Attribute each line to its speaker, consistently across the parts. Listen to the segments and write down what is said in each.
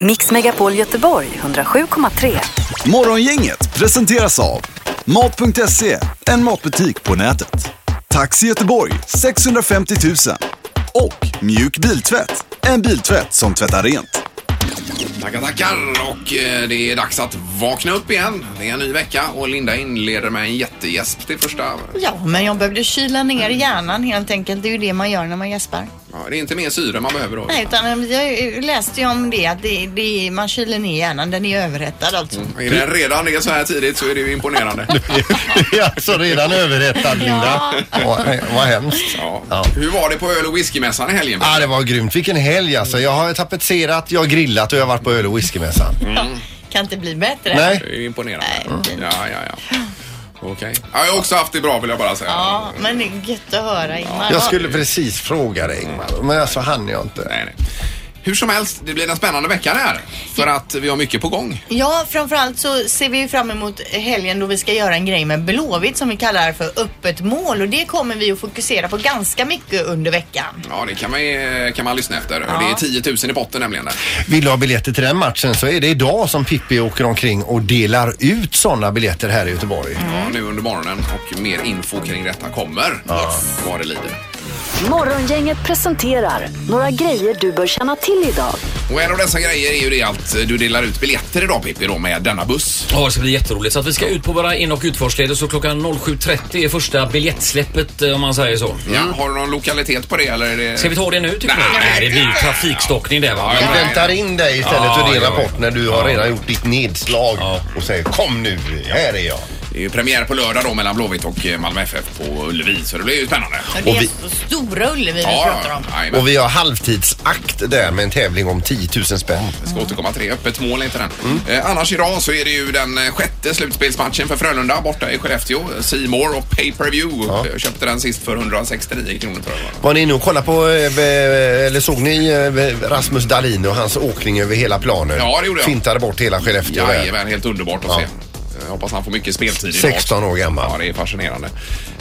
Speaker 1: Mix Megapol Göteborg 107,3.
Speaker 2: Morgongänget presenteras av Mat.se, en matbutik på nätet. Taxi Göteborg 650 000. Och Mjuk Biltvätt, en biltvätt som tvättar rent.
Speaker 3: Tackar, tackar! Och eh, det är dags att vakna upp igen. Det är en ny vecka och Linda inleder med en jättegäsp till första.
Speaker 4: Ja, men jag behövde kyla ner hjärnan helt enkelt. Det är ju det man gör när man gäspar.
Speaker 3: Ja, det är inte mer syre man behöver då.
Speaker 4: Nej, utan eh, jag läste ju om det att det, det, man kyler ner hjärnan. Den är överhettad alltså.
Speaker 5: Mm.
Speaker 3: Är det redan det så här tidigt så är det ju imponerande.
Speaker 5: Jag är alltså redan överrättad Linda. Vad, vad hemskt.
Speaker 3: Ja.
Speaker 5: Ja.
Speaker 3: Hur var det på öl och whiskymässan i helgen?
Speaker 5: Ah, det var grymt. Vilken helg alltså. Jag har tapetserat, jag har grillat och jag har varit på öl och whiskymässan.
Speaker 4: Mm. Kan inte bli bättre.
Speaker 5: Nej.
Speaker 3: Det är ju imponerande. Mm.
Speaker 4: Nej, fint.
Speaker 3: Ja, ja, ja. Okej. Ja, jag har också haft det bra vill jag bara säga.
Speaker 4: Ja, men det är gött att höra Ingmar.
Speaker 5: Jag skulle precis fråga dig Ingmar, men alltså hann jag inte.
Speaker 3: Mm. Nej, nej. Hur som helst, det blir en spännande vecka det här. För att vi har mycket på gång.
Speaker 4: Ja, framförallt så ser vi ju fram emot helgen då vi ska göra en grej med Blåvitt som vi kallar för öppet mål och det kommer vi att fokusera på ganska mycket under veckan.
Speaker 3: Ja, det kan man, eh, kan man lyssna efter. Det är 10 000 i botten nämligen. Där.
Speaker 5: Vill du ha biljetter till den matchen så är det idag som Pippi åker omkring och delar ut sådana biljetter här i Göteborg.
Speaker 3: Ja, nu under morgonen och mer info kring detta kommer. Ja. Vad det lider.
Speaker 1: Morgongänget presenterar några grejer du bör känna till idag.
Speaker 3: Och en av dessa grejer är ju det att du delar ut biljetter idag Pippi då med denna buss.
Speaker 6: Ja, det ska bli jätteroligt. Så att vi ska ut på våra in och utfartsleder så klockan 07.30 är första biljettsläppet eh, om man säger så.
Speaker 3: Ja,
Speaker 5: Mm.
Speaker 3: har du någon lokalitet på det eller? Är det...
Speaker 6: Ska vi ta det nu tycker
Speaker 3: Nej,
Speaker 6: ni? Nej, det blir ju
Speaker 3: nej.
Speaker 6: trafikstockning där va.
Speaker 5: Vi väntar in dig istället och din
Speaker 6: ja,
Speaker 5: rapport när du har redan gjort ditt nedslag och säger kom nu, här är jag.
Speaker 3: Det är ju premiär på lördag då mellan Blåvitt och eh, Malmö FF på Ullevi så det blir ju spännande.
Speaker 4: Och det är
Speaker 5: Och vi-
Speaker 4: så stora Ullevi vi pratar om.
Speaker 3: jajamän.
Speaker 5: Och vi har halvtidsakt där med en tävling om 10 000 spänn.
Speaker 3: Vi ska återkomma till det. Öppet mål är inte den. Eh, annars idag så är det ju den eh, sjätte slutspelsmatchen för Frölunda borta i Skellefteå. C More och Pay Per View. Jag köpte den sist för 169 kronor tror jag.
Speaker 5: Var ni inne och kollade på, eh, eh, eller såg ni eh, Rasmus Dahlin och hans åkning över hela planen?
Speaker 3: Ja, det gjorde jag.
Speaker 5: Fintade bort hela Skellefteå där.
Speaker 3: Jajamän, helt underbart att
Speaker 5: Ja.
Speaker 3: se. Jag hoppas han får mycket speltid idag.
Speaker 5: 16 år gammal.
Speaker 3: Ja, det är fascinerande.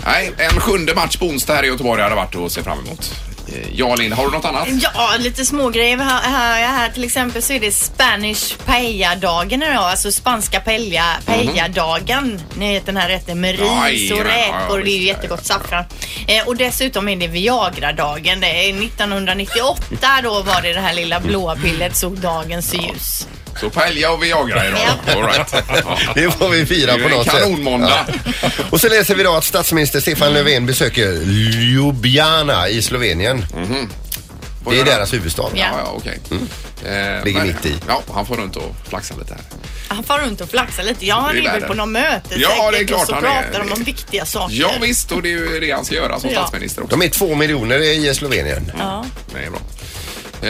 Speaker 3: Nej, en sjunde match på onsdag här i Göteborg hade varit att se fram emot. Eh, Ja, Linda, har du något annat?
Speaker 4: Ja, lite smågrejer har har jag här. Till exempel så är det Spanish Paella-dagen idag. Alltså spanska paella- paella-dagen. Ni vet den här rätten med ris och
Speaker 3: Jajamän, Mhm. ja, ja,
Speaker 4: räkor. Det är ju
Speaker 3: visst,
Speaker 4: jättegott saffran. Eh, Och dessutom är det Viagra-dagen. Det är 1998 då var det det här lilla blåa
Speaker 3: Mm.
Speaker 4: pillret såg dagens ljus.
Speaker 3: Så paella och Viagra idag.
Speaker 4: Ja.
Speaker 3: All right.
Speaker 5: Det får vi fira
Speaker 3: Det är
Speaker 5: på
Speaker 3: en
Speaker 5: något sätt.
Speaker 3: kanonmåndag.
Speaker 5: Ja. Och så läser vi då att statsminister Stefan Löfven besöker Ljubljana i Slovenien.
Speaker 3: Mhm.
Speaker 5: Det är deras huvudstad.
Speaker 4: Ja.
Speaker 3: Ja, ja, okej. Eh,
Speaker 5: Ligger
Speaker 3: men-
Speaker 5: mitt i.
Speaker 3: Ja, han får runt och flaxa lite här.
Speaker 4: Han far runt och flaxar lite. Ja, han
Speaker 3: Det är
Speaker 4: är väl
Speaker 3: världen.
Speaker 4: på något möte
Speaker 3: Ja,
Speaker 4: säkert
Speaker 3: det är klart
Speaker 4: och så
Speaker 3: han är.
Speaker 4: pratar de om viktiga saker.
Speaker 3: Ja, visst, och det är ju det han ska göra som
Speaker 4: Ja.
Speaker 3: statsminister också.
Speaker 5: De är två miljoner i Slovenien.
Speaker 4: Ja,
Speaker 3: Det är bra.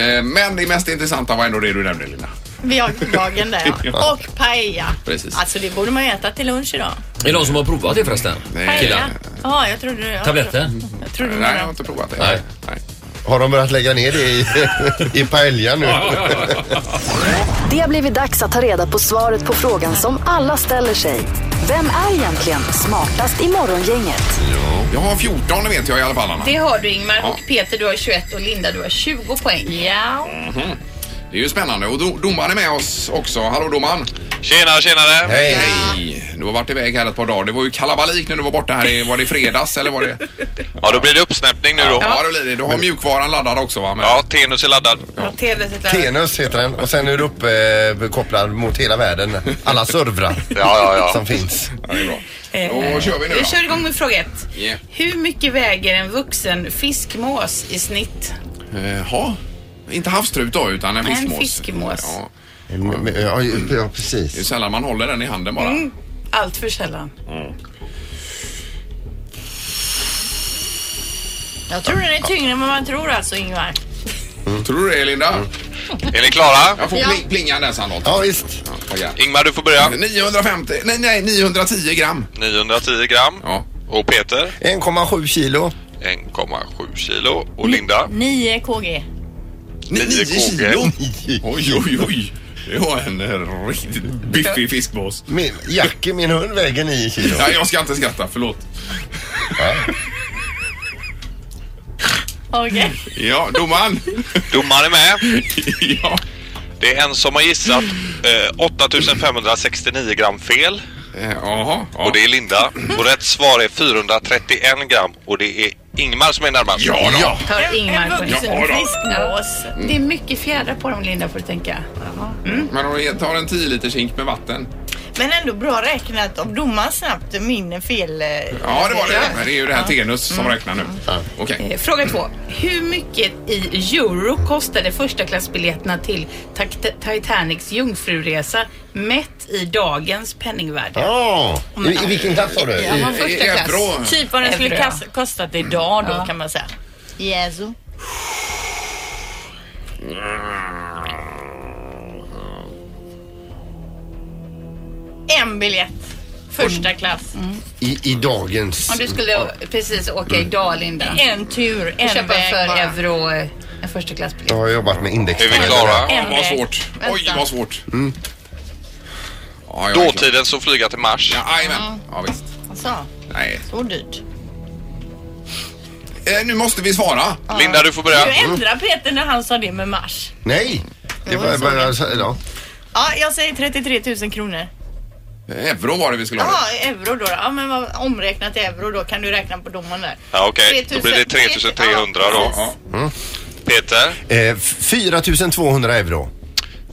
Speaker 3: Eh, Men det mest intressanta var ändå det du nämnde, Linda.
Speaker 4: Viagra-dagen där
Speaker 3: Ja.
Speaker 4: ja. Och paella.
Speaker 3: Precis.
Speaker 4: Alltså det borde man ju äta till lunch idag.
Speaker 6: Är det någon som har provat det förresten?
Speaker 3: Nej.
Speaker 6: Killar?
Speaker 4: Ja, jag trodde jag
Speaker 6: Tabletter?
Speaker 4: trodde- Jag trodde du
Speaker 3: Eh, Nej, jag har
Speaker 4: menade...
Speaker 3: inte provat det.
Speaker 6: Nej.
Speaker 3: Nej.
Speaker 5: Har de börjat lägga ner det i, i paella nu?
Speaker 1: Det har blivit dags att ta reda på svaret på frågan som alla ställer sig. Vem är egentligen smartast i morgongänget?
Speaker 3: Jag har 14 vet jag i alla fall, Anna.
Speaker 7: Det har du Ingmar
Speaker 3: Ja.
Speaker 7: och Peter du har 21 och Linda du har 20 poäng.
Speaker 4: Ja.
Speaker 3: Mhm. Det är ju spännande. Och do- domaren är med oss också. Hallå domaren!
Speaker 8: Tjena, tjenare!
Speaker 5: Hej!
Speaker 3: Hej! Du har varit iväg här ett par dagar. Det var ju kalabalik när du var borta här. i- Var det fredags eller var det?
Speaker 8: Ja, då blir det uppsnäppning nu då.
Speaker 3: Ja, det blir det. Du har mjukvaran laddad också va? Men...
Speaker 8: Ja, Tenus är laddad.
Speaker 7: Ja.
Speaker 5: Tenus heter den och sen är du uppkopplad mot hela världen. Alla servrar
Speaker 8: ja, ja.
Speaker 5: som finns.
Speaker 3: Ja, det är bra. Då kör vi nu
Speaker 7: Vi
Speaker 3: då.
Speaker 7: kör igång med fråga ett.
Speaker 3: Yeah.
Speaker 7: Hur mycket väger en vuxen fiskmås i snitt?
Speaker 3: Jaha. Eh, Inte havstrut då, utan en
Speaker 7: Nej, en
Speaker 3: fiskmås.
Speaker 7: fiskmås.
Speaker 3: Ja.
Speaker 5: Ja, ja
Speaker 3: Det är
Speaker 5: precis.
Speaker 3: sällan man håller den i handen
Speaker 7: Mm.
Speaker 3: bara.
Speaker 7: Allt för sällan.
Speaker 3: Mm.
Speaker 4: Jag tror den är tyngre än vad man tror alltså Ingvar.
Speaker 3: Tror du det Linda?
Speaker 8: Är ni klara?
Speaker 3: Jag får pling, plinga den sen Lotta.
Speaker 5: Mm. Ja, visst.
Speaker 3: Ja.
Speaker 8: Ingmar, du får börja.
Speaker 3: 950, nej nej 910 gram.
Speaker 8: 910 gram.
Speaker 3: Ja.
Speaker 8: Och Peter,
Speaker 5: 1,7 kilo.
Speaker 8: 1,7 kilo. Och Linda,
Speaker 4: 9 kg.
Speaker 3: Ni-
Speaker 8: Nio kågor.
Speaker 3: Oj oj oj. Det var en eh, riktigt biffig fiskmås.
Speaker 5: Min, Jackie, min hund, väger 9 kilo.
Speaker 3: Nej jag ska inte skratta, förlåt.
Speaker 4: Okej.
Speaker 3: Ja, domaren.
Speaker 8: domaren är med.
Speaker 3: ja.
Speaker 8: Det är en som har gissat eh, 8569 gram fel
Speaker 3: Eh, Jaha. ja.
Speaker 8: och det är Linda. Och rätt svar är 431 gram och det är Ingmar som är närmast.
Speaker 3: Ja, då.
Speaker 5: Ja.
Speaker 7: Hör Ingmar
Speaker 4: En
Speaker 7: på det.
Speaker 3: Ja,
Speaker 4: vuxen
Speaker 3: då.
Speaker 4: fiskmås.
Speaker 7: Det är mycket fjädrar på dem Linda får du tänka.
Speaker 3: Mm. Men om vi tar en 10 liters hink med vatten.
Speaker 4: Men ändå bra räknat av domaren snabbt minner fel. eh,
Speaker 3: Ja, det var det.
Speaker 4: Ja.
Speaker 3: Men det är ju det här Tenus
Speaker 8: Mm.
Speaker 3: som räknar nu. Okej.
Speaker 7: Eh, Fråga två. Hur mycket i euro kostade första klassbiljetterna till Tac- Titanics jungfruresa mätt i dagens penningvärde?
Speaker 5: Ja. I, Ah, I vilken klass sa du? I-
Speaker 7: Ja, första
Speaker 3: I- i
Speaker 7: klass.
Speaker 3: euro.
Speaker 4: Typ vad den skulle
Speaker 7: Euro.
Speaker 4: kas- kostat idag då kan man säga. Yes. En biljett. Första klass.
Speaker 5: I, i dagens...
Speaker 7: Om du skulle precis åka idag Linda
Speaker 4: Mm. En tur,
Speaker 7: och
Speaker 4: en
Speaker 7: köpa
Speaker 4: väg
Speaker 7: för
Speaker 4: bara.
Speaker 7: euro eh, en första klassbiljett.
Speaker 5: Jag har jobbat med index. Mm.
Speaker 8: Är vi klara?
Speaker 3: Ja, vad
Speaker 4: väg.
Speaker 3: svårt. Oj,
Speaker 4: Vänta.
Speaker 3: vad svårt. Ja, jag är klar.
Speaker 8: Dåtiden som flyga till Mars.
Speaker 3: Ja,
Speaker 4: Mm,
Speaker 3: jajamän. Ja, visst.
Speaker 4: Alltså,
Speaker 3: Nej.
Speaker 4: så dyrt.
Speaker 3: Eh, nu måste vi svara.
Speaker 8: Linda, du får börja.
Speaker 4: Du ändrar Peter när han sa det med mars.
Speaker 5: Mm. Nej. Det var bara... Ja.
Speaker 4: Ja, jag säger 33 000 kronor.
Speaker 3: Eh, Euro var det vi skulle
Speaker 4: Ja,
Speaker 3: ha.
Speaker 4: euro då. Ja, men vad, omräknat till euro då kan du räkna på domaren där.
Speaker 8: Ja, okej. Då
Speaker 4: 3000,
Speaker 8: blir det 3300 då.
Speaker 4: precis.
Speaker 3: Ja.
Speaker 8: Peter,
Speaker 5: Eh, 4200 euro.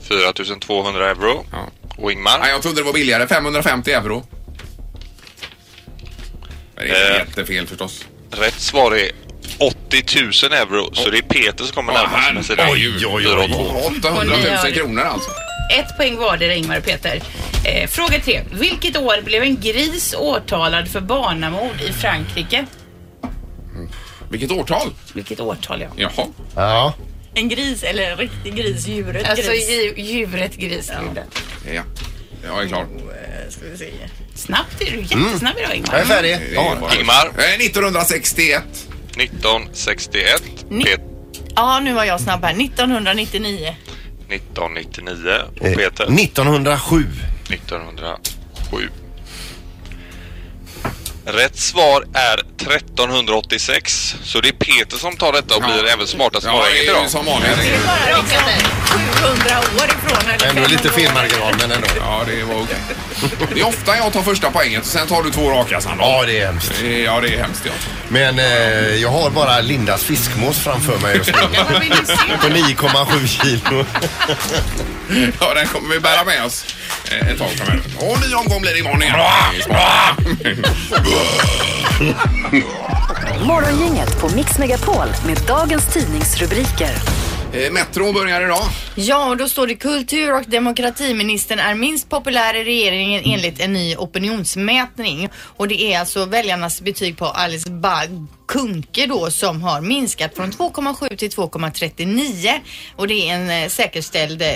Speaker 8: 4200 euro.
Speaker 3: Ja.
Speaker 8: Och
Speaker 3: Nej,
Speaker 8: Ingmar,
Speaker 3: jag trodde det var billigare. 550 euro. Men det är
Speaker 8: Eh.
Speaker 3: jättefel förstås.
Speaker 8: rätt svar är 80 000 euro. Så det är Peter som kommer närmast med sina
Speaker 5: Oj, oj, oj.
Speaker 8: 482.
Speaker 3: 800 000 kronor alltså.
Speaker 7: Ett poäng vardera Ingmar och Peter. Eh, fråga tre. Vilket år blev en gris åtalad för barnamord i Frankrike?
Speaker 3: Vilket årtal?
Speaker 7: Vilket årtal ja.
Speaker 3: Jaha.
Speaker 5: Ja.
Speaker 4: En gris eller en riktig gris, djuret
Speaker 7: Alltså
Speaker 4: gris.
Speaker 7: dju- djuret gris. Linda.
Speaker 3: Ja. Jag är klar.
Speaker 4: Eh, Ska vi se.
Speaker 7: Snabbt är du. Jättesnabb idag Ingmar.
Speaker 5: Mm. Jag är färdig.
Speaker 3: Det är
Speaker 5: Ja.
Speaker 3: bara-
Speaker 8: Ingmar.
Speaker 3: Eh, 1961.
Speaker 8: 1961.
Speaker 4: Ni-
Speaker 8: Peter.
Speaker 4: Ja, nu var jag snabb här. 1999.
Speaker 8: 1999 och
Speaker 5: Eh,
Speaker 8: Peter
Speaker 5: 1907.
Speaker 8: 1907. Rätt svar är 1386. Så det är Peter som tar detta och
Speaker 3: Ja.
Speaker 8: blir även smartast
Speaker 3: Ja, det
Speaker 8: morgongänget
Speaker 3: är ju
Speaker 8: idag.
Speaker 3: som vanligt.
Speaker 4: Det är bara liksom 700 år ifrån. Eller
Speaker 5: Ändå lite
Speaker 4: 500 år.
Speaker 5: felmarginal, men ändå.
Speaker 3: Ja, det var okej. Det är ofta jag tar första poängen, så sen tar du två raka Sandra.
Speaker 5: Ja, det är hemskt.
Speaker 3: Eh, Ja, det är hemskt. Ja.
Speaker 5: Men eh, jag har bara Lindas fiskmås framför mig just nu.
Speaker 7: Ja, vad vill du se?
Speaker 5: På 9,7 kilo.
Speaker 3: ja, den kommer vi bära med oss eh, ett tag framöver. Och ny omgång blir det imorgon igen.
Speaker 1: Morgongänget på Mix Megapol med dagens tidningsrubriker.
Speaker 3: Eh, Metro börjar idag.
Speaker 4: Ja, och då står det kultur och demokratiministern är minst populär i regeringen
Speaker 3: Mm.
Speaker 4: enligt en ny opinionsmätning. Och det är alltså väljarnas betyg på Alice Bah Kuhnke då som har minskat från 2,7 till 2,39. Och det är en eh, säkerställd eh,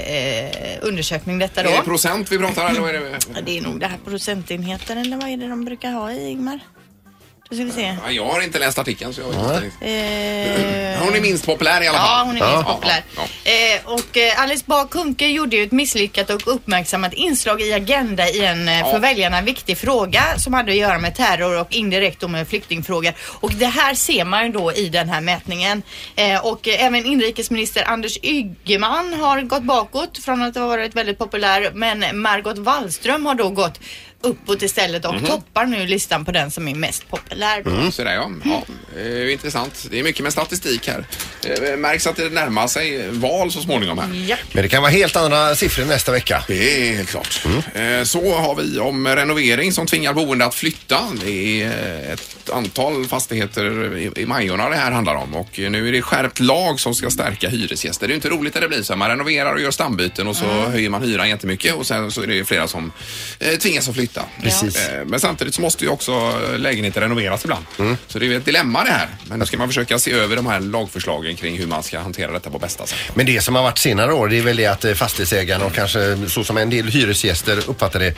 Speaker 4: undersökning detta då.
Speaker 3: Är det procent vi pratar eller vad är det?
Speaker 4: Ja, Det är nog det här procentenheten eller vad är det de brukar ha i Ingmar? Då ska vi se.
Speaker 3: Ja, jag har inte läst artikeln så jag vet inte.
Speaker 4: Eh,
Speaker 3: Hon är minst populär i alla fall.
Speaker 4: Ja, hon är
Speaker 5: Ja.
Speaker 4: minst populär.
Speaker 3: Ja,
Speaker 4: Eh, och eh, Alice Bah Kuhnke gjorde ju ett misslyckat och uppmärksammat inslag i Agenda i en eh, för väljarna viktig fråga som hade att göra med terror och indirekt om flyktingfrågor. Och det här ser man ju då i den här mätningen. Eh, och eh, även inrikesminister Anders Ygeman har gått bakåt från att ha varit väldigt populär men Margot Wallström har då gått uppåt istället och
Speaker 3: Mhm.
Speaker 4: toppar nu listan på den som är mest populär. då.
Speaker 3: Så där, Mm. ja. ja. Eh, intressant. Det är mycket med statistik här. Eh, märks att det närmar sig val så småningom här.
Speaker 4: Ja.
Speaker 5: Men det kan vara helt andra siffror nästa vecka.
Speaker 3: Det är helt klart. Eh, Så har vi om renovering som tvingar boende att flytta. Det är eh, ett antal fastigheter i- i Majorna det här handlar om och nu är det skärpt lag som ska stärka hyresgäster. Det är ju inte roligt när det blir så här. Man renoverar och gör stambyten och så höjer man hyran jättemycket och sen så är det flera som eh, tvingas att flytta.
Speaker 5: Precis.
Speaker 3: Eh, Men samtidigt så måste ju också lägenheter renoveras ibland.
Speaker 5: Mm.
Speaker 3: Så det är ju ett dilemma det här. Men nu ska man försöka se över de här lagförslagen kring hur man ska hantera detta på bästa sätt.
Speaker 5: Men det som har varit senare år det är väl det att eh, fastighetsägarna och kanske så som en del hyresgäster uppfattar det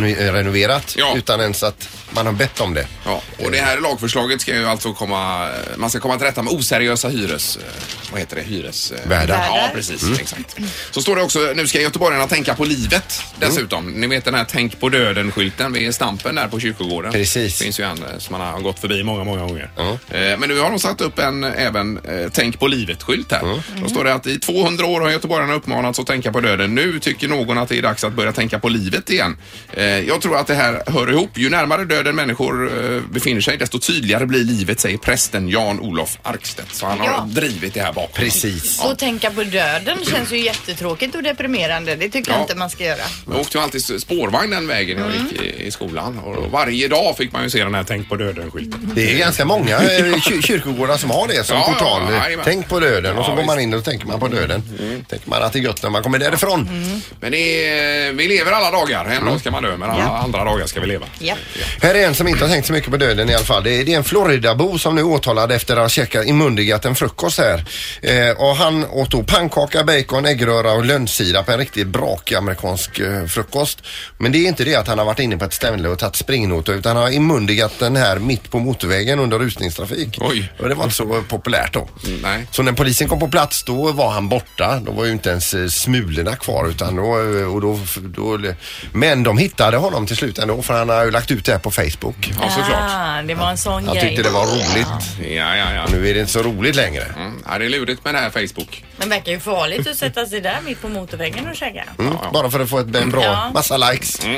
Speaker 5: lyxrenoverat
Speaker 3: Ja.
Speaker 5: utan ens att man har bett om det.
Speaker 3: Ja, och det här lagförslaget ska ju alltså komma, man ska komma till rätta med oseriösa hyres, eh, vad heter det, hyres... eh,
Speaker 5: Värdar. Mm.
Speaker 3: Ja, precis, exakt. Så står det också, nu ska göteborgarna tänka på livet dessutom. Ni vet den här tänk på döden-skylten vid stampen där på kyrkogården.
Speaker 5: Precis.
Speaker 3: Finns ju en eh, som man har gått förbi många, många gånger.
Speaker 5: Ja.
Speaker 3: Eh, Men nu har de satt upp en eh, även eh, Tänk på livet-skylt här. Då står det att i 200 år har göteborgarna uppmanats att tänka på döden. Nu tycker någon att det är dags att börja tänka på livet igen. Eh, Jag tror att det här hör ihop. Ju närmare döden människor eh, befinner sig, desto tydligare blir livet, säger prästen Jan-Olof Arkstedt. Så han har
Speaker 4: Ja.
Speaker 3: drivit det här bakom.
Speaker 5: Precis.
Speaker 4: Och tänka på döden känns ju jättetråkigt och deprimerande. Det tycker
Speaker 3: Ja.
Speaker 4: jag inte man ska göra.
Speaker 3: Jag åkte ju alltid spårvagn den vägen när jag gick i, i skolan. Och varje dag fick man ju se den här Tänk på döden-skylten.
Speaker 5: Det är ganska många eh, kyr- kyrkogårdar som har det som
Speaker 3: Ja, ja,
Speaker 5: portal.
Speaker 3: ja, jajamän.
Speaker 5: Tänk på döden och så
Speaker 3: Ja,
Speaker 5: går man
Speaker 3: visst. Mm.
Speaker 5: in och tänker man på döden. Tänker man att det är gött när man kommer därifrån.
Speaker 3: Men det är, vi lever alla dagar. En dag ska man dö, men alla andra dagar ska vi leva.
Speaker 4: Ja.
Speaker 5: Här är en som inte har tänkt så mycket på döden i alla fall. Det är, det är en Floridabo som nu är åtalad efter att ha checkat, inmundigat en frukost här. Eh, och han åt då pannkaka, bacon, äggröra och lönnsirap. En riktigt brakig amerikansk eh, frukost. Men det är inte det att han har varit inne på ett ställe och tagit springnotor utan han har inmundigat den här mitt på motorvägen under rusningstrafik.
Speaker 3: Oj.
Speaker 5: Och det var inte så populärt då.
Speaker 3: Mm, nej.
Speaker 5: Så när polisen kom på plats då var han borta. Då var ju inte ens eh, smulorna kvar utan då, eh, och då, då... Men de hittade honom till slut ändå för han har ju lagt ut det här på Facebook.
Speaker 3: Ja, såklart.
Speaker 4: Ah, det var en sån
Speaker 5: Han
Speaker 4: grej.
Speaker 5: tyckte det var roligt.
Speaker 3: Ja, ja, ja.
Speaker 5: Nu är det inte så roligt längre.
Speaker 3: Mm. ja det är lurigt med det här Facebook.
Speaker 4: Men verkar ju farligt att sätta sig där mitt på motorvägen och käka.
Speaker 5: Mm. Bara för att få ett, en bra
Speaker 4: Ja.
Speaker 5: massa likes.
Speaker 3: Ja,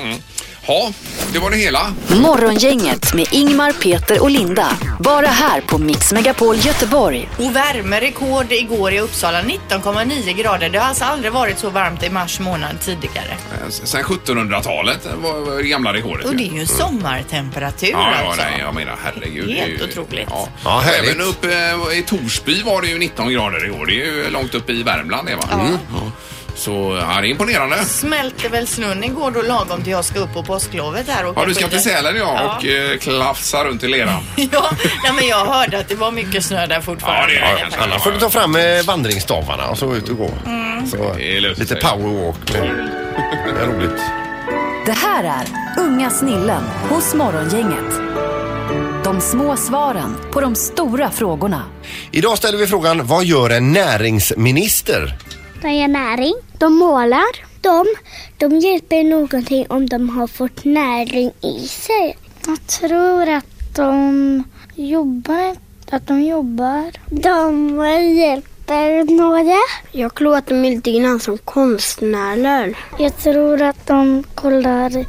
Speaker 3: Mm, det var det hela.
Speaker 1: Morgongänget med Ingmar, Peter och Linda. Bara här på Mix Megapol Göteborg.
Speaker 4: Och värmerekord igår i Uppsala, 19,9 grader. Det har alltså aldrig varit så varmt i mars månad tidigare.
Speaker 3: Eh, Sen 1700-talet var var det gamla rekordet.
Speaker 4: Och
Speaker 3: ju.
Speaker 4: det är ju sommartemperatur
Speaker 3: Mm. Ja, ja,
Speaker 4: alltså.
Speaker 3: nej, jag menar herregud.
Speaker 4: Helt
Speaker 3: det är ju-
Speaker 4: otroligt.
Speaker 3: Ja.
Speaker 5: Ja, härligt.
Speaker 3: Även uppe eh, i Torsby var det ju 19 grader i år. Det är ju långt upp i Värmland det va?
Speaker 5: Mm.
Speaker 3: Ja. Så ja, det är imponerande.
Speaker 4: Smälter väl snön igår då lagom till jag ska upp på påsklovet här och
Speaker 3: Ja, du ska
Speaker 4: skidor.
Speaker 3: till Sälen ja
Speaker 4: Ja.
Speaker 3: och eh, klafsa runt i leran.
Speaker 4: Ja, nej, men jag hörde att det var mycket snö där fortfarande.
Speaker 3: Ja, det är det kanske.
Speaker 5: Annars får du ta fram eh, vandringsstavarna och så ut och gå. Så,
Speaker 3: Mm. Det löser
Speaker 5: lite
Speaker 3: sig.
Speaker 5: powerwalk. Men, det är roligt.
Speaker 1: Det här är Unga snillen hos Morgongänget. De små svaren på de stora frågorna.
Speaker 5: Idag ställer vi frågan, vad gör en näringsminister?
Speaker 9: De ger näring, de målar, de, de hjälper någonting om de har fått näring i sig. Jag tror att de jobbar, att de jobbar. De hjälper några. Jag tror att de är lite grann som konstnärer. Jag tror att de kollar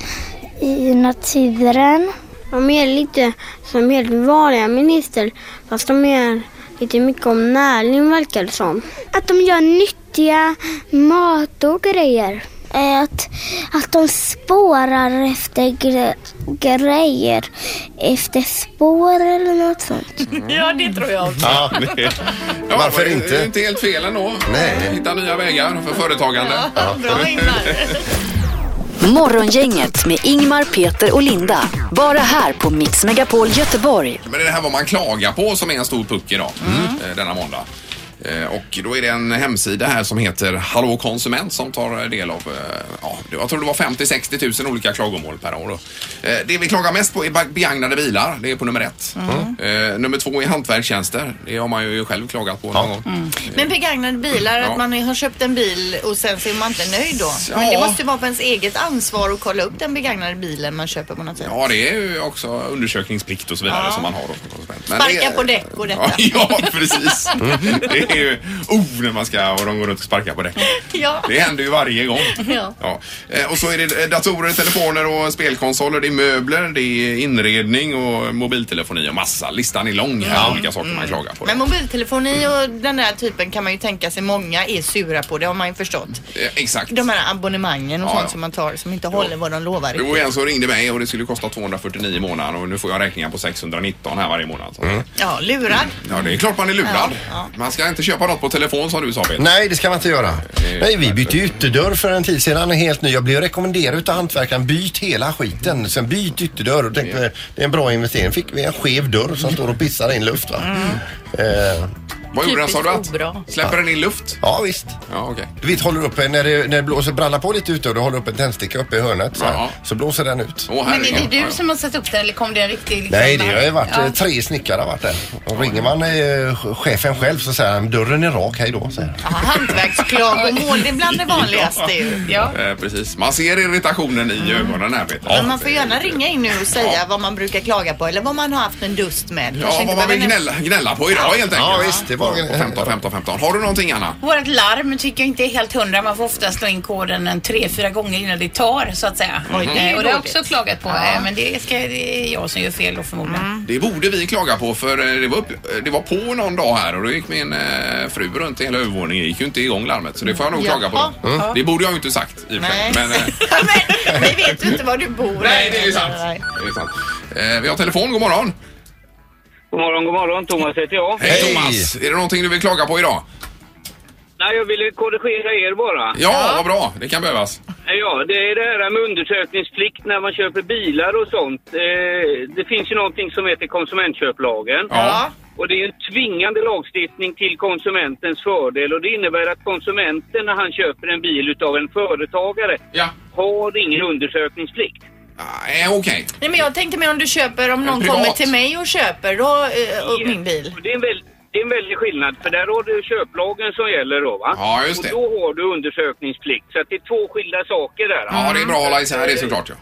Speaker 9: i naturen. De är lite som helt vanliga minister fast de är lite mycket om näring verkar det som. Att de gör nyttiga mat och grejer. Att, att de spårar efter gre- grejer, efter spår eller något sånt.
Speaker 4: Ja, det tror jag också.
Speaker 5: Ja,
Speaker 3: Ja,
Speaker 5: Varför
Speaker 3: det är
Speaker 5: inte?
Speaker 3: Inte helt fel ändå.
Speaker 5: Nej.
Speaker 3: Hitta nya vägar för företagande.
Speaker 4: Bra Ingmar.
Speaker 1: Morgongänget med Ingmar, Peter och Linda. Bara här på Mix Megapol Göteborg.
Speaker 3: Men det här vad man klagar på som är en stor puck idag, eh, denna måndag. Eh, Och då är det en hemsida här som heter Hallå konsument som tar del av, eh, ja, jag tror det var 50-60 000 olika klagomål per år. Då. Eh, Det vi klagar mest på är ba- begagnade bilar, det är på nummer ett. Eh, Nummer två är hantverkstjänster, det har man ju själv klagat på någon gång.
Speaker 4: Men begagnade bilar,
Speaker 3: Ja.
Speaker 4: att man har köpt en bil och sen så är man inte nöjd då. Men det
Speaker 3: Ja.
Speaker 4: måste ju vara på ens eget ansvar att kolla upp den begagnade bilen man köper på något sätt.
Speaker 3: Ja, det är ju också undersökningsplikt och så vidare som man har då som konsument. Men
Speaker 4: Sparka
Speaker 3: det-
Speaker 4: på däck och detta.
Speaker 3: Ja, precis. Det är ju, oh, när man ska, och de går runt och sparkar på däck.
Speaker 4: Ja.
Speaker 3: Det händer ju varje gång.
Speaker 4: Ja.
Speaker 3: Eh, Och så är det eh, datorer, telefoner och spelkonsoler, det är möbler, det är inredning och mobiltelefoni och massa. Listan är lång här, olika saker
Speaker 5: Mm.
Speaker 3: man klagar på.
Speaker 4: Men mobiltelefoni och den där typen kan man ju tänka sig många är sura på, det har man ju förstått.
Speaker 3: Eh, Exakt.
Speaker 4: De här abonnemangen och
Speaker 3: Ja,
Speaker 4: sånt
Speaker 3: ja.
Speaker 4: som man tar som inte håller vad de lovar.
Speaker 3: Det var en som ringde mig och det skulle kosta 249 i månaden och nu får jag räkningar på 619 här varje månad. Så.
Speaker 5: Mm.
Speaker 4: Ja, lurad.
Speaker 3: Ja, det är klart man är lurad.
Speaker 4: Ja, ja.
Speaker 3: Man ska inte köpa något på telefon som du sa Peter.
Speaker 5: Nej, det ska man inte göra. Nej, vi bytte ju ytterdörr för en tid sedan, en helt ny. Jag blev rekommenderad utav hantverkaren, byt hela skiten. Sen byt ytterdörr och tänkte, det är en bra investering. Fick vi en skev dörr som står och pissar in luft va. Eh,
Speaker 3: Vad gjorde den sa du?
Speaker 7: Mm. Typiskt
Speaker 3: Att
Speaker 7: obra.
Speaker 3: släpper den in luft?
Speaker 5: Ja, visst.
Speaker 3: Ja, okej.
Speaker 5: Du vet, håller upp en, när det, när det blåser bralla på lite ute och du håller upp en tändsticka uppe i hörnet så,
Speaker 3: Ja.
Speaker 5: här, så blåser den ut.
Speaker 3: Åh,
Speaker 7: Men
Speaker 3: herregud.
Speaker 7: är det
Speaker 3: Ja,
Speaker 7: du
Speaker 3: ja.
Speaker 7: som har satt upp den eller kom det en riktig... Liksom,
Speaker 5: Nej, det har ju varit
Speaker 7: Ja.
Speaker 5: eh, tre snickare har varit där. Och ringer man eh, chefen själv så säger han dörren är rak, hej då. säger han.
Speaker 4: Ja, Hantverksklagomål, det är bland det vanligaste ju.
Speaker 7: Ja.
Speaker 3: Eh, precis. Man ser irritationen i
Speaker 5: Mm.
Speaker 3: ögonen här Peter.
Speaker 4: Men man får gärna ringa in nu och säga vad man brukar klaga på eller vad man har haft en dust med.
Speaker 3: Ja, vad man vill gnälla, gnälla på idag helt enkelt.
Speaker 5: Ja, visst, det var-
Speaker 3: 15, 15, 15. Har du någonting Anna?
Speaker 7: Vårt larm tycker jag inte är helt hundra. Man får ofta slå in koden en tre, fyra gånger innan det tar så att säga.
Speaker 4: Oj, det är ju
Speaker 7: Eh, och det har jag
Speaker 4: dåligt.
Speaker 7: också klagat på. eh, Men det, ska, det är jag som gör fel då förmodligen.
Speaker 4: Mm.
Speaker 3: Det borde vi klaga på för eh, det var, upp, eh, det var på någon dag här och då gick min eh, fru runt i hela övervåningen. Det gick ju inte igång larmet så det får jag nog
Speaker 4: Jaha.
Speaker 3: klaga på. då. Det borde jag ju inte sagt i och för sig.
Speaker 4: Nej.
Speaker 3: Men, eh,
Speaker 4: Men vi vet ju inte var du bor.
Speaker 3: nej, det är ju sant. Det är sant. Eh, vi har telefon, god morgon.
Speaker 10: God morgon, god morgon. Thomas heter jag.
Speaker 3: Hej,
Speaker 5: Hej.
Speaker 3: Thomas! Är det någonting du vill klaga på idag?
Speaker 10: Nej, jag ville korrigera er bara.
Speaker 3: Ja, vad bra. Det kan behövas.
Speaker 10: Ja, det är det här med undersökningsplikt när man köper bilar och sånt. Eh, det finns ju någonting som heter konsumentköplagen.
Speaker 3: Ja.
Speaker 10: Och det är en tvingande lagstiftning till konsumentens fördel och det innebär att konsumenten när han köper en bil utav en företagare
Speaker 3: Ja.
Speaker 10: har ingen undersökningsplikt.
Speaker 3: Ah, eh, Okej.
Speaker 4: Nej, men jag tänkte mer om du köper, om någon
Speaker 3: Privat.
Speaker 4: kommer till mig och köper då, eh, och min bil.
Speaker 10: Och Det är, en väl, det är en väldig skillnad, för där har du köplagen som gäller då va?
Speaker 3: Ja, just det.
Speaker 10: Och då har du undersökningsplikt, så att det är två skilda saker där.
Speaker 3: Ja, det är bra att hålla isär det såklart. Ja.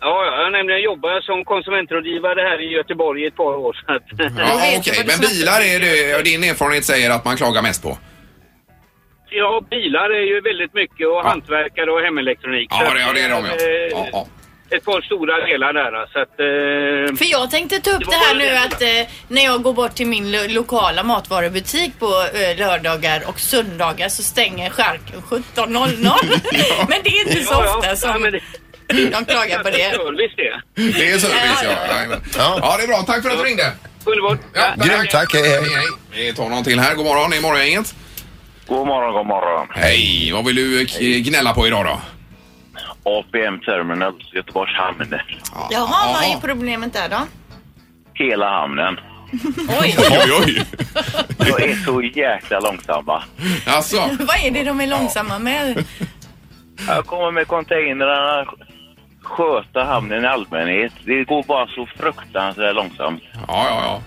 Speaker 10: Ja, jag har nämligen jobbat som konsumentrådgivare här i Göteborg i ett par år. Så att,
Speaker 3: Ja,
Speaker 4: vet
Speaker 3: okej.
Speaker 4: ju vad du
Speaker 3: Men
Speaker 4: snackar
Speaker 3: bilar är det, din erfarenhet säger att man klagar mest på?
Speaker 10: ja, bilar är ju väldigt mycket och
Speaker 3: Ja.
Speaker 10: hantverkare och hemelektronik.
Speaker 3: Ja,
Speaker 10: Så att
Speaker 3: det, ja, det är de ja.
Speaker 10: eh,
Speaker 3: ja, ja.
Speaker 10: Ett par stora delar där. va, Så att, eh,
Speaker 4: För jag tänkte ta upp det här nu att eh, när jag går bort till min lo- lokala matvarubutik på eh, lördagar och söndagar så stänger charken 17.00. Men det är inte så
Speaker 10: Ja, ja.
Speaker 4: ofta
Speaker 10: Ja,
Speaker 4: som
Speaker 10: men det-
Speaker 4: de klagar på det.
Speaker 10: Service det.
Speaker 3: Det är service ja. Ja,
Speaker 5: Ja.
Speaker 3: ja, det är bra. Tack för att du ringde.
Speaker 10: Underbart.
Speaker 3: Ja,
Speaker 5: Grymt, tack. Hej,
Speaker 3: Hej,
Speaker 5: hej.
Speaker 3: hej. Vi tar någon till här. God morgon, det är morgongänget.
Speaker 10: God morgon, god morgon.
Speaker 3: Hej, vad vill du k- gnälla på idag då?
Speaker 10: APM Terminals, Göteborgs hamn.
Speaker 4: Jaha, vad är
Speaker 3: Jaha.
Speaker 4: problemet där då?
Speaker 10: Hela hamnen.
Speaker 3: Oj, oj,
Speaker 10: Jag är så jäkla långsamma.
Speaker 3: oj. Alltså,
Speaker 4: Vad är det de är långsamma med?
Speaker 10: Jag kommer med containrarna, sköta hamnen i allmänhet. Det går bara så fruktansvärt långsamt.
Speaker 3: ja, ja, ja.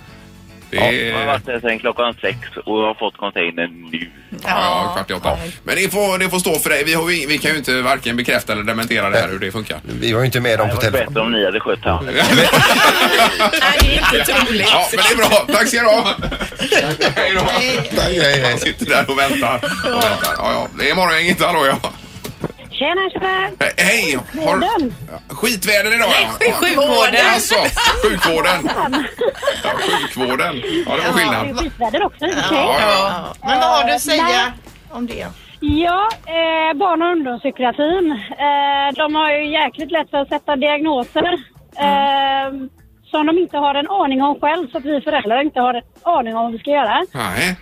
Speaker 3: Det
Speaker 10: Ja,
Speaker 3: är...
Speaker 10: jag har varit där sedan klockan sex och jag har fått containern nu.
Speaker 3: Ja, ja, kvart i åtta. Men det får, det får stå för dig. Vi, har, vi, vi kan ju inte varken bekräfta eller dementera det här hur det funkar.
Speaker 5: Vi var ju inte med dem
Speaker 10: Det var
Speaker 5: på telefon.
Speaker 10: bättre om ni hade skött hamnen.
Speaker 4: Nej, det är inte troligt.
Speaker 3: Ja, men det är bra. Tack ska du ha. Hej då.
Speaker 5: Hej, hej,
Speaker 3: Han
Speaker 5: hej.
Speaker 3: sitter där och väntar. Och väntar. Ja, ja. Det är morgongänget. Hallå, ja.
Speaker 9: Tjena, tjena!
Speaker 3: Eh, Hej! Har... Ja, Skitväder idag, ja.
Speaker 4: Nej, sjukvården.
Speaker 3: Alltså, sjukvården. Ja, sjukvården. Ja, det var skillnad.
Speaker 9: skitväder också i och för
Speaker 3: Ja,
Speaker 9: sig.
Speaker 3: ja.
Speaker 4: Ja, Men vad har du att säga om det?
Speaker 9: Ja, eh, barn och ungdomspsykiatrin. Eh, de har ju jäkligt lätt för att sätta diagnoser
Speaker 3: Mm.
Speaker 9: eh, som de inte har en aning om själv, så att vi föräldrar inte har en aning om vad vi ska göra.
Speaker 3: Nej.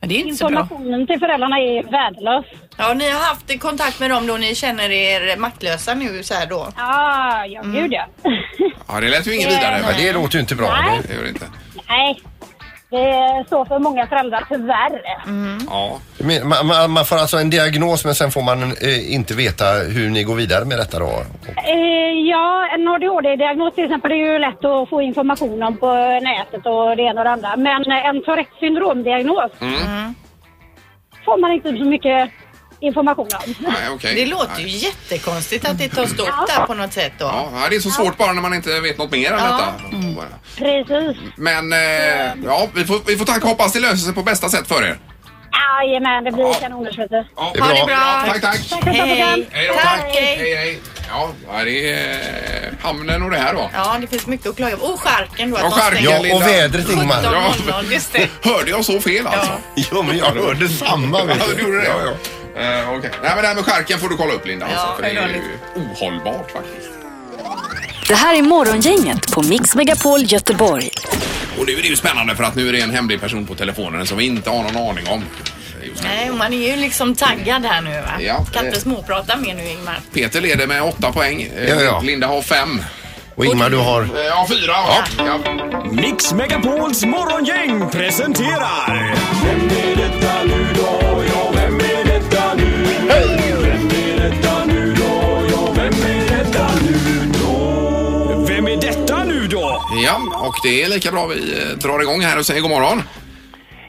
Speaker 7: Men det är inte så bra.
Speaker 9: Informationen till föräldrarna är värdelös.
Speaker 4: Ja, ni har haft kontakt med dem då ni känner er maktlösa nu så här då? Mm.
Speaker 9: Ah, ja, gud ja.
Speaker 3: Ja, det lät ju inget vidare.
Speaker 5: Men
Speaker 3: Men
Speaker 5: det låter ju inte bra.
Speaker 9: Nej.
Speaker 3: det gör det inte.
Speaker 9: Nej, det står för många föräldrar, tyvärr.
Speaker 4: Mm.
Speaker 3: Ja.
Speaker 5: Det- men Man, man, man får alltså en diagnos men sen får man eh, inte veta hur ni går vidare med detta då.
Speaker 9: Eh, ja, en ADHD-diagnos till exempel är ju lätt att få information om på nätet och det ena och det andra. Men en Tourettes syndromdiagnos
Speaker 3: Mm.
Speaker 9: får man inte så mycket information om.
Speaker 3: Nej, okej.
Speaker 4: Det låter ju jättekonstigt att det tas upp där på något sätt då.
Speaker 3: Ja, det är så svårt bara när man inte vet något mer än
Speaker 4: Ja.
Speaker 3: detta.
Speaker 9: Precis.
Speaker 3: Men eh, ja, vi får, vi får tacka och hoppas det löser sig på bästa sätt för er.
Speaker 9: Jajamän, det
Speaker 3: Ja.
Speaker 9: blir kanonutbyte.
Speaker 3: Ja.
Speaker 5: är bra.
Speaker 4: Ha det bra.
Speaker 3: Tack, tack.
Speaker 9: Tack för att du kom.
Speaker 3: Hej då,
Speaker 4: Tack,
Speaker 3: tack.
Speaker 4: hej.
Speaker 3: Hej, hej. Ja, ja, det är eh, hamnen och det här då.
Speaker 4: Ja, det finns mycket att klaga på. Och charken då. Att
Speaker 3: Ja,
Speaker 4: de
Speaker 3: charken,
Speaker 4: stänger
Speaker 5: Ja,
Speaker 3: Linda.
Speaker 5: och vädret Ingmar.
Speaker 3: Ja.
Speaker 4: 17.00, just det.
Speaker 3: Hörde jag så fel alltså?
Speaker 5: Jo, men jag hörde samma.
Speaker 3: Ja,
Speaker 5: Vet
Speaker 3: du gjorde det?
Speaker 5: Ja, ja.
Speaker 3: Eh, okej. Nej, men det här med skärken får du kolla upp Linda. alltså,
Speaker 4: Ja,
Speaker 3: för det är ju
Speaker 4: självklart.
Speaker 3: ohållbart faktiskt.
Speaker 1: Det här är Morgongänget på Mix Megapol Göteborg.
Speaker 3: Och nu är det ju spännande för att nu är det en hemlig person på telefonen som vi inte har någon aning om. Just nu.
Speaker 4: Nej, och man är ju liksom taggad här nu va?
Speaker 3: Ja.
Speaker 4: Kan inte småprata mer nu Ingmar.
Speaker 3: Peter leder med åtta poäng. Eh,
Speaker 5: Ja, ja.
Speaker 3: Linda har fem. Eh,
Speaker 5: Och Ingmar, du har...
Speaker 3: Ja, fyra.
Speaker 5: Ja.
Speaker 11: Mix Megapols morgongäng presenterar... Vem är detta nu då? Ja, vem är detta nu? Vem är detta nu då? Ja, vem är detta nu då? Vem är detta nu då?
Speaker 3: Ja, och det är lika bra vi eh, drar igång här och säger god morgon.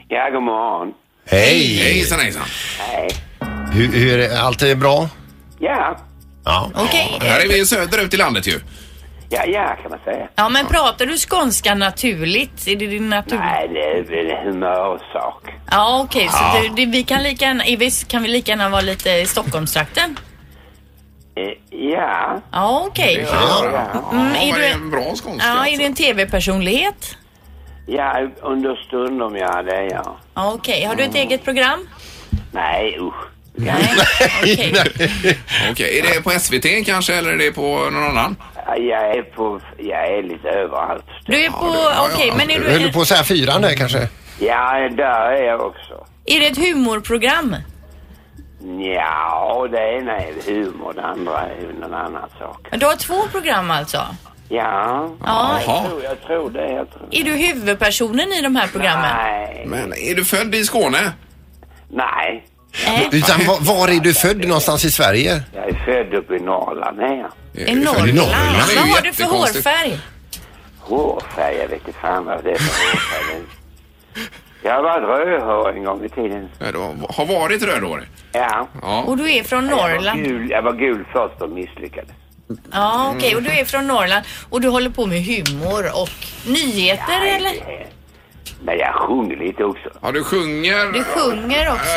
Speaker 12: Ja, god morgon.
Speaker 5: Hej!
Speaker 3: Hejsan, hejsan.
Speaker 12: Hej.
Speaker 5: Hur, hur är det? Allt är bra?
Speaker 12: Ja,
Speaker 5: Ja.
Speaker 4: Okej.
Speaker 3: Här är vi söderut i landet ju.
Speaker 12: ja, ja kan man säga.
Speaker 4: Ja, men pratar du skånska naturligt? Är det din natur?
Speaker 12: Nej, det är väl en humörsak.
Speaker 4: Ja, okej.
Speaker 12: Ja.
Speaker 4: Så det, det, vi kan lika gärna, är vi, kan vi lika gärna vara lite i Stockholmstrakten?
Speaker 12: Eh, Ja.
Speaker 4: Ja, okej. Mm, är du en
Speaker 3: bra
Speaker 12: skånska,
Speaker 4: Ja, är det en TV-personlighet?
Speaker 12: Ja, under stundom ja, det är jag.
Speaker 4: Ja, okej. Har du ett eget program?
Speaker 12: Mm. Nej, usch.
Speaker 4: Okej.
Speaker 3: Okej, är det på SVT kanske eller är det på någon annan?
Speaker 12: Ja, Jag är på, jag är lite överallt.
Speaker 4: Du är på... okej, men är
Speaker 5: Höll
Speaker 4: du...
Speaker 5: du på att säga fyran där kanske?
Speaker 12: Ja, där är jag också.
Speaker 4: Är det ett humorprogram?
Speaker 12: Ja, det ena är humor, det andra är ju någon annan sak.
Speaker 4: Du har två program alltså?
Speaker 12: Ja,
Speaker 4: Ja.
Speaker 12: jag, tror, jag tror det. Jag tror.
Speaker 4: Är du huvudpersonen i de här programmen?
Speaker 12: Nej.
Speaker 3: Men är du född i Skåne?
Speaker 12: Nej.
Speaker 5: Utan var, var är du född någonstans i Sverige?
Speaker 12: Jag är född uppe i Norrland, är jag.
Speaker 4: I Norrland? Vad har du för hårfärg?
Speaker 12: Hårfärg, jag vet inte fan vad det är för hårfärg. Jag var rödhårig en gång i tiden.
Speaker 3: Du har varit rödhårig?
Speaker 12: Ja.
Speaker 4: Och du är från
Speaker 12: Jag var
Speaker 4: Norrland?
Speaker 12: gul, jag var gul först och misslyckades.
Speaker 4: Ja, okej. Och du är från Norrland och du håller på med humor och nyheter eller?
Speaker 12: Men jag sjunger lite också.
Speaker 3: Ja, du sjunger?
Speaker 4: Du sjunger också?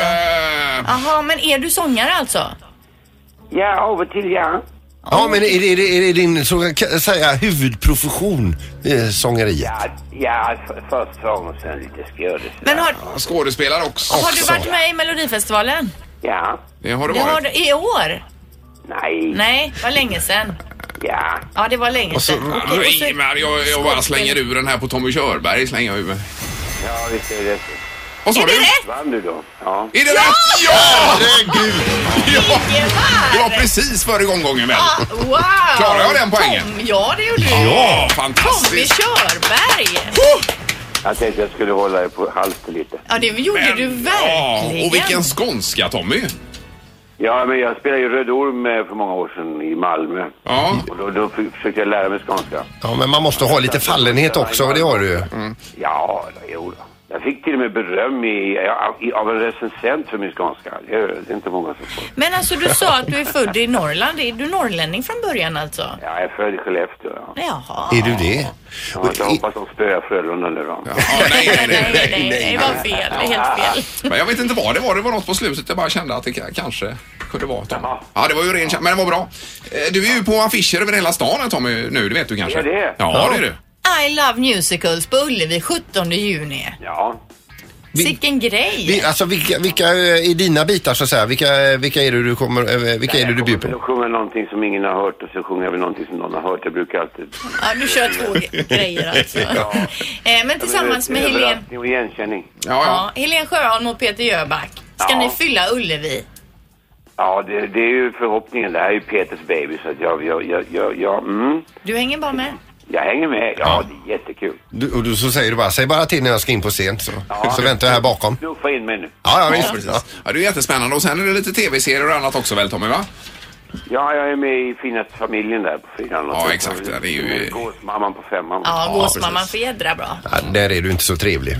Speaker 4: Jaha, men är du sångare alltså?
Speaker 12: Mm. Ja, av och till ja.
Speaker 5: Ja, men är det, är det, är det din så kan jag säga, huvudprofession, eh, sångeriet?
Speaker 12: Ja, ja f- först sång och sen lite skådis.
Speaker 4: Men har,
Speaker 3: Skådespelare också.
Speaker 4: har du varit med i Melodifestivalen?
Speaker 12: Ja.
Speaker 3: Det har du
Speaker 4: Det har du,
Speaker 3: varit.
Speaker 4: I år?
Speaker 12: Nej.
Speaker 4: Nej, var länge sedan.
Speaker 12: Ja.
Speaker 4: Ja, det var länge
Speaker 3: Och så,
Speaker 4: sedan. Okej, och
Speaker 3: Nej,
Speaker 4: så-
Speaker 3: men jag, jag bara slänger ur den här på Tommy Körberg. Slänger jag ur.
Speaker 12: Ja, visst är det.
Speaker 3: Vad sa Är det du? rätt?
Speaker 12: Vann du då? Ja.
Speaker 3: Är det rätt? Ja! Herregud! Ja! Det var precis före gånggången väl?
Speaker 4: Ah, wow!
Speaker 3: Klarar jag den poängen?
Speaker 4: Tom, ja, det gjorde du.
Speaker 3: Ja,
Speaker 4: Tommy
Speaker 3: fantastiskt!
Speaker 4: Körberg!
Speaker 12: Jag tänkte jag skulle hålla er på halsen lite.
Speaker 4: Ja, det gjorde du
Speaker 3: Ja,
Speaker 4: verkligen.
Speaker 3: och vilken skånska Tommy!
Speaker 12: Ja, men jag spelade ju Röd Orm eh, för många år sedan i Malmö.
Speaker 3: Ja.
Speaker 12: Och då, då f- försökte jag lära mig skånska.
Speaker 5: Ja, men man måste ha lite fallenhet också och det har du ju.
Speaker 3: Mm.
Speaker 12: Ja, då, jo då. Jag fick till och med beröm i, ja, i, av en recensent för min skånska. Det är, det är inte många som får.
Speaker 4: Men alltså, du sa att du är född i Norrland. Är du norrlänning från början alltså?
Speaker 12: Ja, jag är född i Skellefteå. Ja.
Speaker 4: Jaha.
Speaker 5: Är du det?
Speaker 12: Ja, jag hoppas de spöar Frölunda nu då.
Speaker 3: nej,
Speaker 4: nej, nej, det var fel. Det är helt fel.
Speaker 3: Men jag vet inte vad det var. Det var något på slutet. Jag bara kände att det ka- kanske kunde vara Tommy. Ja, det var ju ren kä- Men det var bra. Eh, Du är ju på affischer över hela stan här, Tommy nu. Det vet du kanske?
Speaker 12: Är jag det?
Speaker 3: Ja, det är du.
Speaker 4: I Love Musicals på Ullevi 17 juni.
Speaker 12: Ja.
Speaker 4: Vilken grej!
Speaker 5: Vi, alltså vilka, vilka eh, är dina bitar så att säga? Vilka, vilka är det du kommer, eh, vilka är det du bjuder
Speaker 12: Då
Speaker 5: på?
Speaker 12: sjunger jag någonting som ingen har hört och så sjunger jag väl någonting som någon har hört. Jag brukar alltid...
Speaker 4: Ja, du kör två ge- grejer alltså. Eh, Men tillsammans med Helene
Speaker 12: Överraskning och igenkänning.
Speaker 4: ja, Helen Sjöholm och Peter Jöback ska
Speaker 12: Ja.
Speaker 4: ni fylla Ullevi.
Speaker 12: Ja, det, det är ju förhoppningen. Det här är ju Peters baby så att jag, jag, jag, jag, jag, mm,
Speaker 4: Du hänger bara med.
Speaker 12: jag hänger med. Ja, det är jättekul.
Speaker 5: Du, och du, så säger du bara, säg bara till när jag ska in på scen så,
Speaker 12: Ja.
Speaker 5: så väntar jag här bakom.
Speaker 12: Knuffa in mig nu.
Speaker 5: Ja, ja,
Speaker 3: Ja,
Speaker 5: visst.
Speaker 3: precis. Ja, det är jättespännande. Och sen är det lite tv-serier och annat också väl Tommy, va?
Speaker 12: Ja, jag är med i finaste familjen där på fyran.
Speaker 3: Ja, exakt. Det är ju-
Speaker 12: Gåsmamman på femman.
Speaker 4: Ja, gåsmamman för jädra bra.
Speaker 5: Ja, där är du inte så trevlig.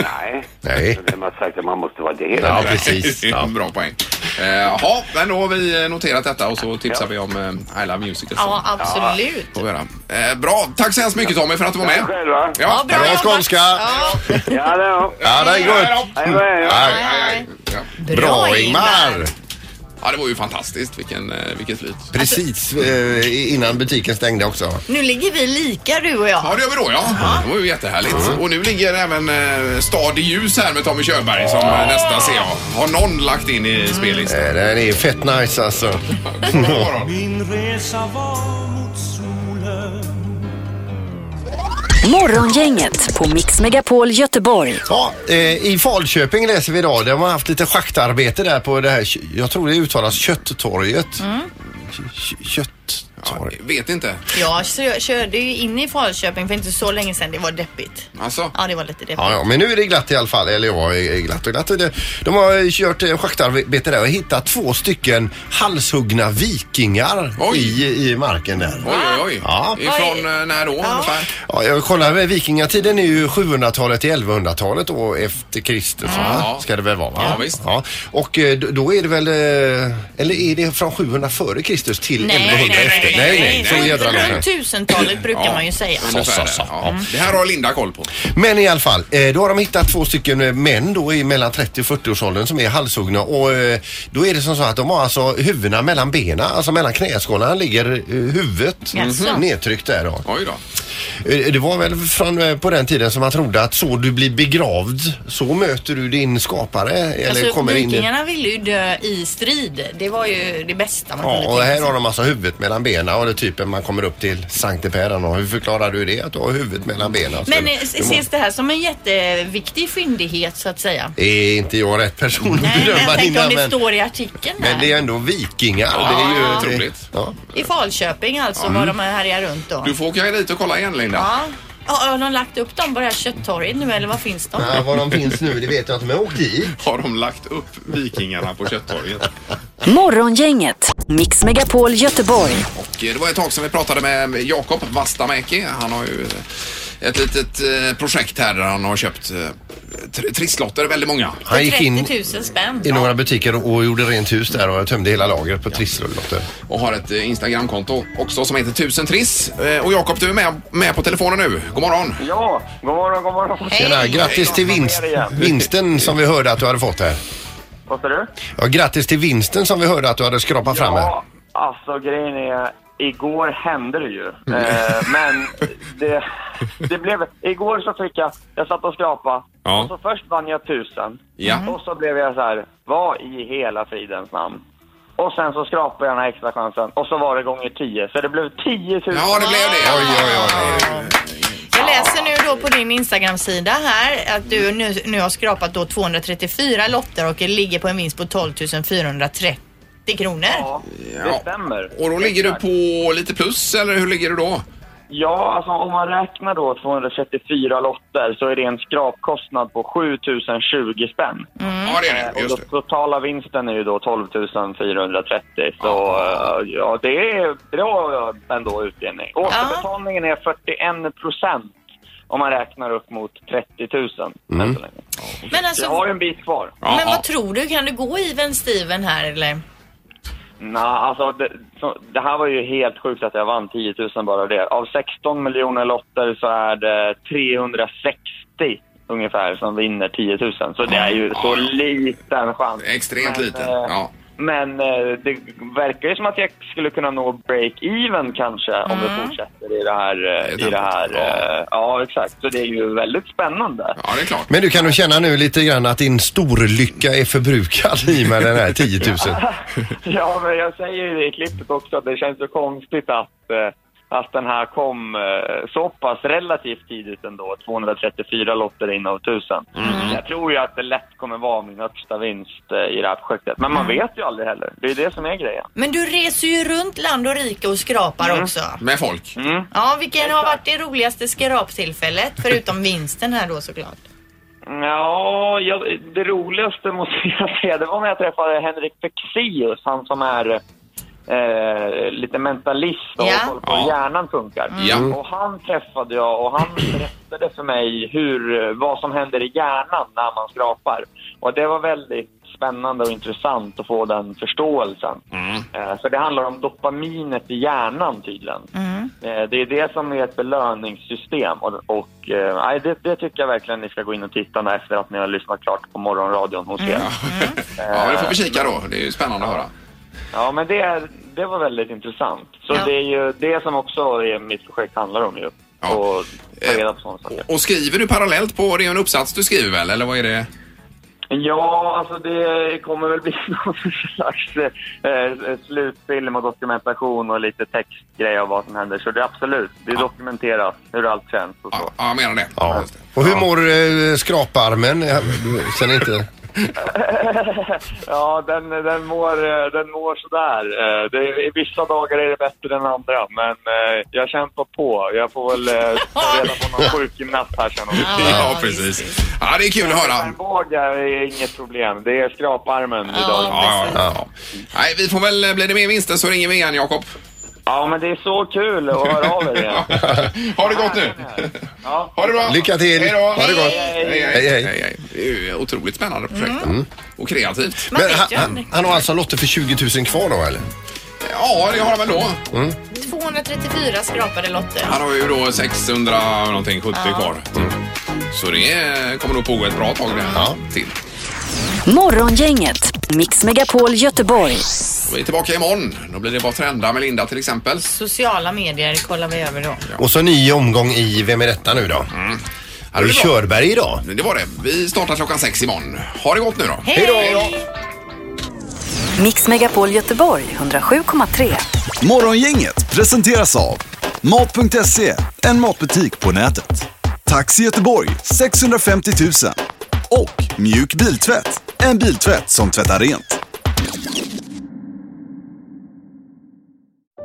Speaker 12: Nej.
Speaker 5: Nej.
Speaker 12: Vem har sagt att man måste vara det hela
Speaker 5: Ja,
Speaker 12: tiden?
Speaker 5: precis. Ja.
Speaker 3: Bra poäng. Eh, Jaha, men då har vi eh, noterat detta och så tipsar vi om eh, I Love Music.
Speaker 4: Ja, absolut.
Speaker 3: Får vi göra. Eh, Bra, tack så hemskt mycket Tommy för att du var med.
Speaker 12: Tack själva.
Speaker 4: Ja, bra
Speaker 5: Bra
Speaker 4: jobbat.
Speaker 5: skånska!
Speaker 4: Ja,
Speaker 12: Ja, det är
Speaker 5: Ja, det är gott.
Speaker 12: Hej, hej, hej.
Speaker 5: Ja, Bra Ingmar!
Speaker 3: Ja, det var ju fantastiskt. Vilken, eh, vilket flyt.
Speaker 5: Precis eh, innan butiken stängde också.
Speaker 4: Nu ligger vi lika du och jag.
Speaker 3: Ja, det gör vi då ja. Det var ju jättehärligt. Och nu ligger även eh, Stad i ljus här med Tommy Körberg som eh, nästa CA. Har någon lagt in i spellistan?
Speaker 5: Eh, Den är fett nice alltså.
Speaker 3: God morgon.
Speaker 11: Min resa var mot solen
Speaker 1: Morgongänget på Mix Megapol Göteborg.
Speaker 5: Ja, eh, I Falköping läser vi idag, de har haft lite schaktarbete där på det här, jag tror det uttalas Kötttorget. Kö- Kött, något? Ja,
Speaker 3: vet inte.
Speaker 4: Jag kö- körde ju in i Falköping för inte så länge sedan. Det var deppigt.
Speaker 3: Alltså?
Speaker 4: Ja, det var lite deppigt.
Speaker 5: Ja, ja, men nu är det glatt i alla fall. Eller ja, eh, glatt och glatt. Det- De har kört eh, schaktarbete där och hittat två stycken halshuggna vikingar i, i marken där.
Speaker 3: Oj, oj, oj.
Speaker 5: Ja.
Speaker 3: Ifrån eh, när då ungefär?
Speaker 5: Ja, jag kollar, eh, vikingatiden är ju 700-talet till 1100-talet då efter Kristus va?
Speaker 3: Ja.
Speaker 5: Ska det väl vara? Va?
Speaker 3: Ja, visst.
Speaker 5: Och eh, d- då är det väl, eh, eller är det från 700 före Kristus till
Speaker 4: Nej,
Speaker 5: 1100 efter? Nej, nej, så jädra långt.
Speaker 4: Runt tusentalet brukar man ju säga.
Speaker 5: Så, så, så. Mm.
Speaker 3: Ja. Det här har Linda koll på.
Speaker 5: Men i alla fall, eh, då har de hittat två stycken eh, män då i mellan 30 och 40 årsåldern som är halshuggna och eh, då är det som så att de har alltså huvudena mellan benen, alltså mellan knäskålarna ligger eh, huvudet Mhm.
Speaker 3: Jaså?
Speaker 5: nedtryckt där då.
Speaker 3: Oj då.
Speaker 5: Eh, Det var väl från, eh, på den tiden som man trodde att så du blir begravd så möter du din skapare eller
Speaker 4: Alltså,
Speaker 5: kommer in. i-
Speaker 4: vikingarna ville ju dö i strid. Det var ju det bästa man
Speaker 5: Ja,
Speaker 4: kunde
Speaker 5: och
Speaker 4: tänka
Speaker 5: här
Speaker 4: sig.
Speaker 5: har de alltså huvudet mellan benen och det är typen man kommer upp till Sankte Peran och hur förklarar du det att du har huvudet mellan benen? Så
Speaker 4: Men
Speaker 5: du-
Speaker 4: eh,
Speaker 5: du må-
Speaker 4: ses det här som en jätteviktig fyndighet så att säga?
Speaker 5: är inte jag rätt person att
Speaker 4: Nej, men jag
Speaker 5: bedöma
Speaker 4: tänkte
Speaker 5: dina
Speaker 4: om det
Speaker 5: men,
Speaker 4: står i artikeln här.
Speaker 5: men det är ändå vikingar.
Speaker 3: Ja,
Speaker 5: det är ju
Speaker 3: otroligt.
Speaker 5: Ja.
Speaker 4: I Falköping alltså,
Speaker 5: Mm.
Speaker 4: var de härjar runt då.
Speaker 3: Du får åka dit och kolla igen Linda.
Speaker 4: Ja. Ja, har de lagt upp dem på det här kötttorget nu eller var finns de?
Speaker 5: Ja, var de finns nu det vet jag inte men åk dit.
Speaker 3: Har de lagt upp vikingarna på Köttorget?
Speaker 1: Morgongänget, Mix Megapol Göteborg.
Speaker 3: Och Det var ett tag sedan vi pratade med Jakob Vastamäki. Han har ju ett litet eh, projekt här där han har köpt eh, tr- trisslotter, väldigt många.
Speaker 5: Han gick in
Speaker 4: 30 000 spänn.
Speaker 5: i några butiker och, och gjorde rent hus där och tömde hela lagret på trisslotter.
Speaker 3: Och har ett eh, Instagramkonto också som heter 1000 Triss. Eh, Och Jakob, du är med, med på telefonen nu. God morgon!
Speaker 13: Ja, god morgon, god morgon.
Speaker 5: Tjena, grattis till vinst, vinsten som vi hörde att du hade fått här.
Speaker 13: Vad sa du?
Speaker 5: Ja, grattis till vinsten som vi hörde att du hade skrapat fram här.
Speaker 13: Ja, alltså grejen är, igår hände det ju.
Speaker 6: Mm.
Speaker 13: Eh, men det, det blev, igår så fick jag, jag satt och skrapade.
Speaker 3: Ja.
Speaker 13: Och så först vann jag tusen.
Speaker 3: Ja.
Speaker 13: Och så blev jag så här, vad i hela fridens namn? Och sen så skrapade jag den här extra chansen och så var det gånger tio. Så det blev 10 000.
Speaker 3: Ja, det blev det.
Speaker 5: Oj, oj, oj.
Speaker 4: Jag läser nu då på din Instagram-sida här att du nu, nu har skrapat då 234 lotter och ligger på en vinst på 12 430 kronor.
Speaker 13: Det stämmer.
Speaker 3: Och då ligger du på lite plus, eller hur ligger du då?
Speaker 13: Ja, alltså om man räknar då 234 lotter så är det en skrapkostnad på 7020 spänn.
Speaker 3: Mm. Ja, det är
Speaker 13: Eh,
Speaker 3: det.
Speaker 13: Och
Speaker 3: Just
Speaker 13: då
Speaker 3: det.
Speaker 13: totala vinsten är ju då 12 430. Så eh, ja, det är bra ändå utdelning. Återbetalningen är 41 procent om man räknar upp mot 30 000
Speaker 3: Mm.
Speaker 13: än så länge.
Speaker 4: Men alltså,
Speaker 13: Jag har ju en bit kvar.
Speaker 4: men vad tror du? Kan du gå i Ven Steven här eller?
Speaker 13: Nej, alltså det, så, det här var ju helt sjukt att jag vann 10 000 bara det. Av 16 miljoner lotter så är det 360 ungefär som vinner 10 000. Så det är ju så liten chans.
Speaker 3: Extremt
Speaker 13: Men,
Speaker 3: liten,
Speaker 13: eh,
Speaker 3: ja.
Speaker 13: Men eh, det verkar ju som att jag skulle kunna nå break-even kanske om
Speaker 3: Mm.
Speaker 13: det fortsätter i det här. eh, I det här eh, ja, exakt. Så det är ju väldigt spännande.
Speaker 3: Ja, det är klart.
Speaker 5: Men du kan du känna nu lite grann att din storlycka är förbrukad i och med den här 10 000?
Speaker 13: Ja, men jag säger ju det i klippet också att det känns så konstigt att, eh, att den här kom eh, så pass relativt tidigt ändå. 234 lotter in av 1000.
Speaker 3: Mm.
Speaker 13: Jag tror ju att det lätt kommer vara min högsta vinst eh, i det här projektet. Men
Speaker 3: Mm.
Speaker 13: man vet ju aldrig heller. Det är det som är grejen. Mm.
Speaker 4: Men du reser ju runt land och rike och skrapar också.
Speaker 3: Med folk.
Speaker 4: Ja, vilken har varit det roligaste skraptillfället? Förutom vinsten här då såklart.
Speaker 13: Ja, jag, det roligaste måste jag säga, det var när jag träffade Henrik Fexeus, han som är eh, lite mentalist och
Speaker 14: Ja. Mm.
Speaker 13: har koll på hur hjärnan funkar.
Speaker 14: Ja.
Speaker 13: Och han träffade jag och han berättade för mig hur, vad som händer i hjärnan när man skrapar. Och det var väldigt spännande och intressant att få den förståelsen. Eh, för det handlar om dopaminet i hjärnan tydligen. Eh, Det är det som är ett belöningssystem och, och eh, nej, det, det tycker jag verkligen ni ska gå in och titta när efter att ni har lyssnat klart på morgonradion hos er.
Speaker 3: Mm.
Speaker 13: Eh,
Speaker 3: Ja, det får vi kika då. Det är ju spännande att höra.
Speaker 13: Ja, men det, är- det var väldigt intressant. Så det är ju det som också är mitt projekt handlar om ju. Och
Speaker 3: Eh,
Speaker 13: ta reda på sådana saker.
Speaker 3: Och skriver du parallellt på, det är ju en uppsats du skriver väl, eller vad är det?
Speaker 13: Ja, alltså det kommer väl bli någon slags eh, slutfilm och dokumentation och lite textgrej av vad som händer. Så det är absolut, det dokumenteras hur allt känns och så.
Speaker 3: Ja, jag menar det.
Speaker 5: Och hur mår eh, skraparmen? Ja, Sen inte...
Speaker 13: ja, den, den, mår, eh, den mår sådär. Eh, Det, är- vissa dagar är det bättre än andra, men eh, jag kämpar på. Jag får väl eh, ta reda på någon sjukgymnast här sen. också.
Speaker 3: Ja, precis. Ja, det är kul att höra.
Speaker 13: Armbågar är inget problem. Det är skraparmen idag.
Speaker 3: Ja, ja. Nej, vi får väl, blir det mer vinster så ringer vi igen, Jakob.
Speaker 13: Ja, men det är så kul att höra av er igen.
Speaker 3: ha det gott nu! Ha det bra!
Speaker 5: Lycka till.
Speaker 3: Hej då.
Speaker 5: Ha det gott.
Speaker 3: Hej, hej.
Speaker 5: Hej, hej. Mm.
Speaker 3: Det är ju otroligt spännande projekt. Och kreativt.
Speaker 5: Men han, han, han har alltså lotter för 20 000 kvar då eller? Mm.
Speaker 3: Ja, det har han väl då.
Speaker 4: 234 skrapade lotter.
Speaker 3: Han har ju då 600 någonting, 70 kvar. Mm. Så det eh, kommer nog pågå ett bra tag det här till.
Speaker 1: Morgongänget, Mix Megapol Göteborg.
Speaker 3: Vi är tillbaka imorgon. Då blir det bara trenda med Linda till exempel.
Speaker 4: Sociala medier kollar vi över då.
Speaker 5: Och så ny omgång i Vem är detta nu då?
Speaker 3: Mm. Ja,
Speaker 5: Och i
Speaker 3: det var-
Speaker 5: Körberg idag.
Speaker 3: Det var det. Vi startar klockan sex imorgon. Ha det gott nu då.
Speaker 1: Mix Megapol Göteborg 107,3.
Speaker 2: Morgongänget presenteras av Mat.se, en matbutik på nätet. Taxi Göteborg 650 000 och Mjuk Biltvätt, en biltvätt som tvättar rent.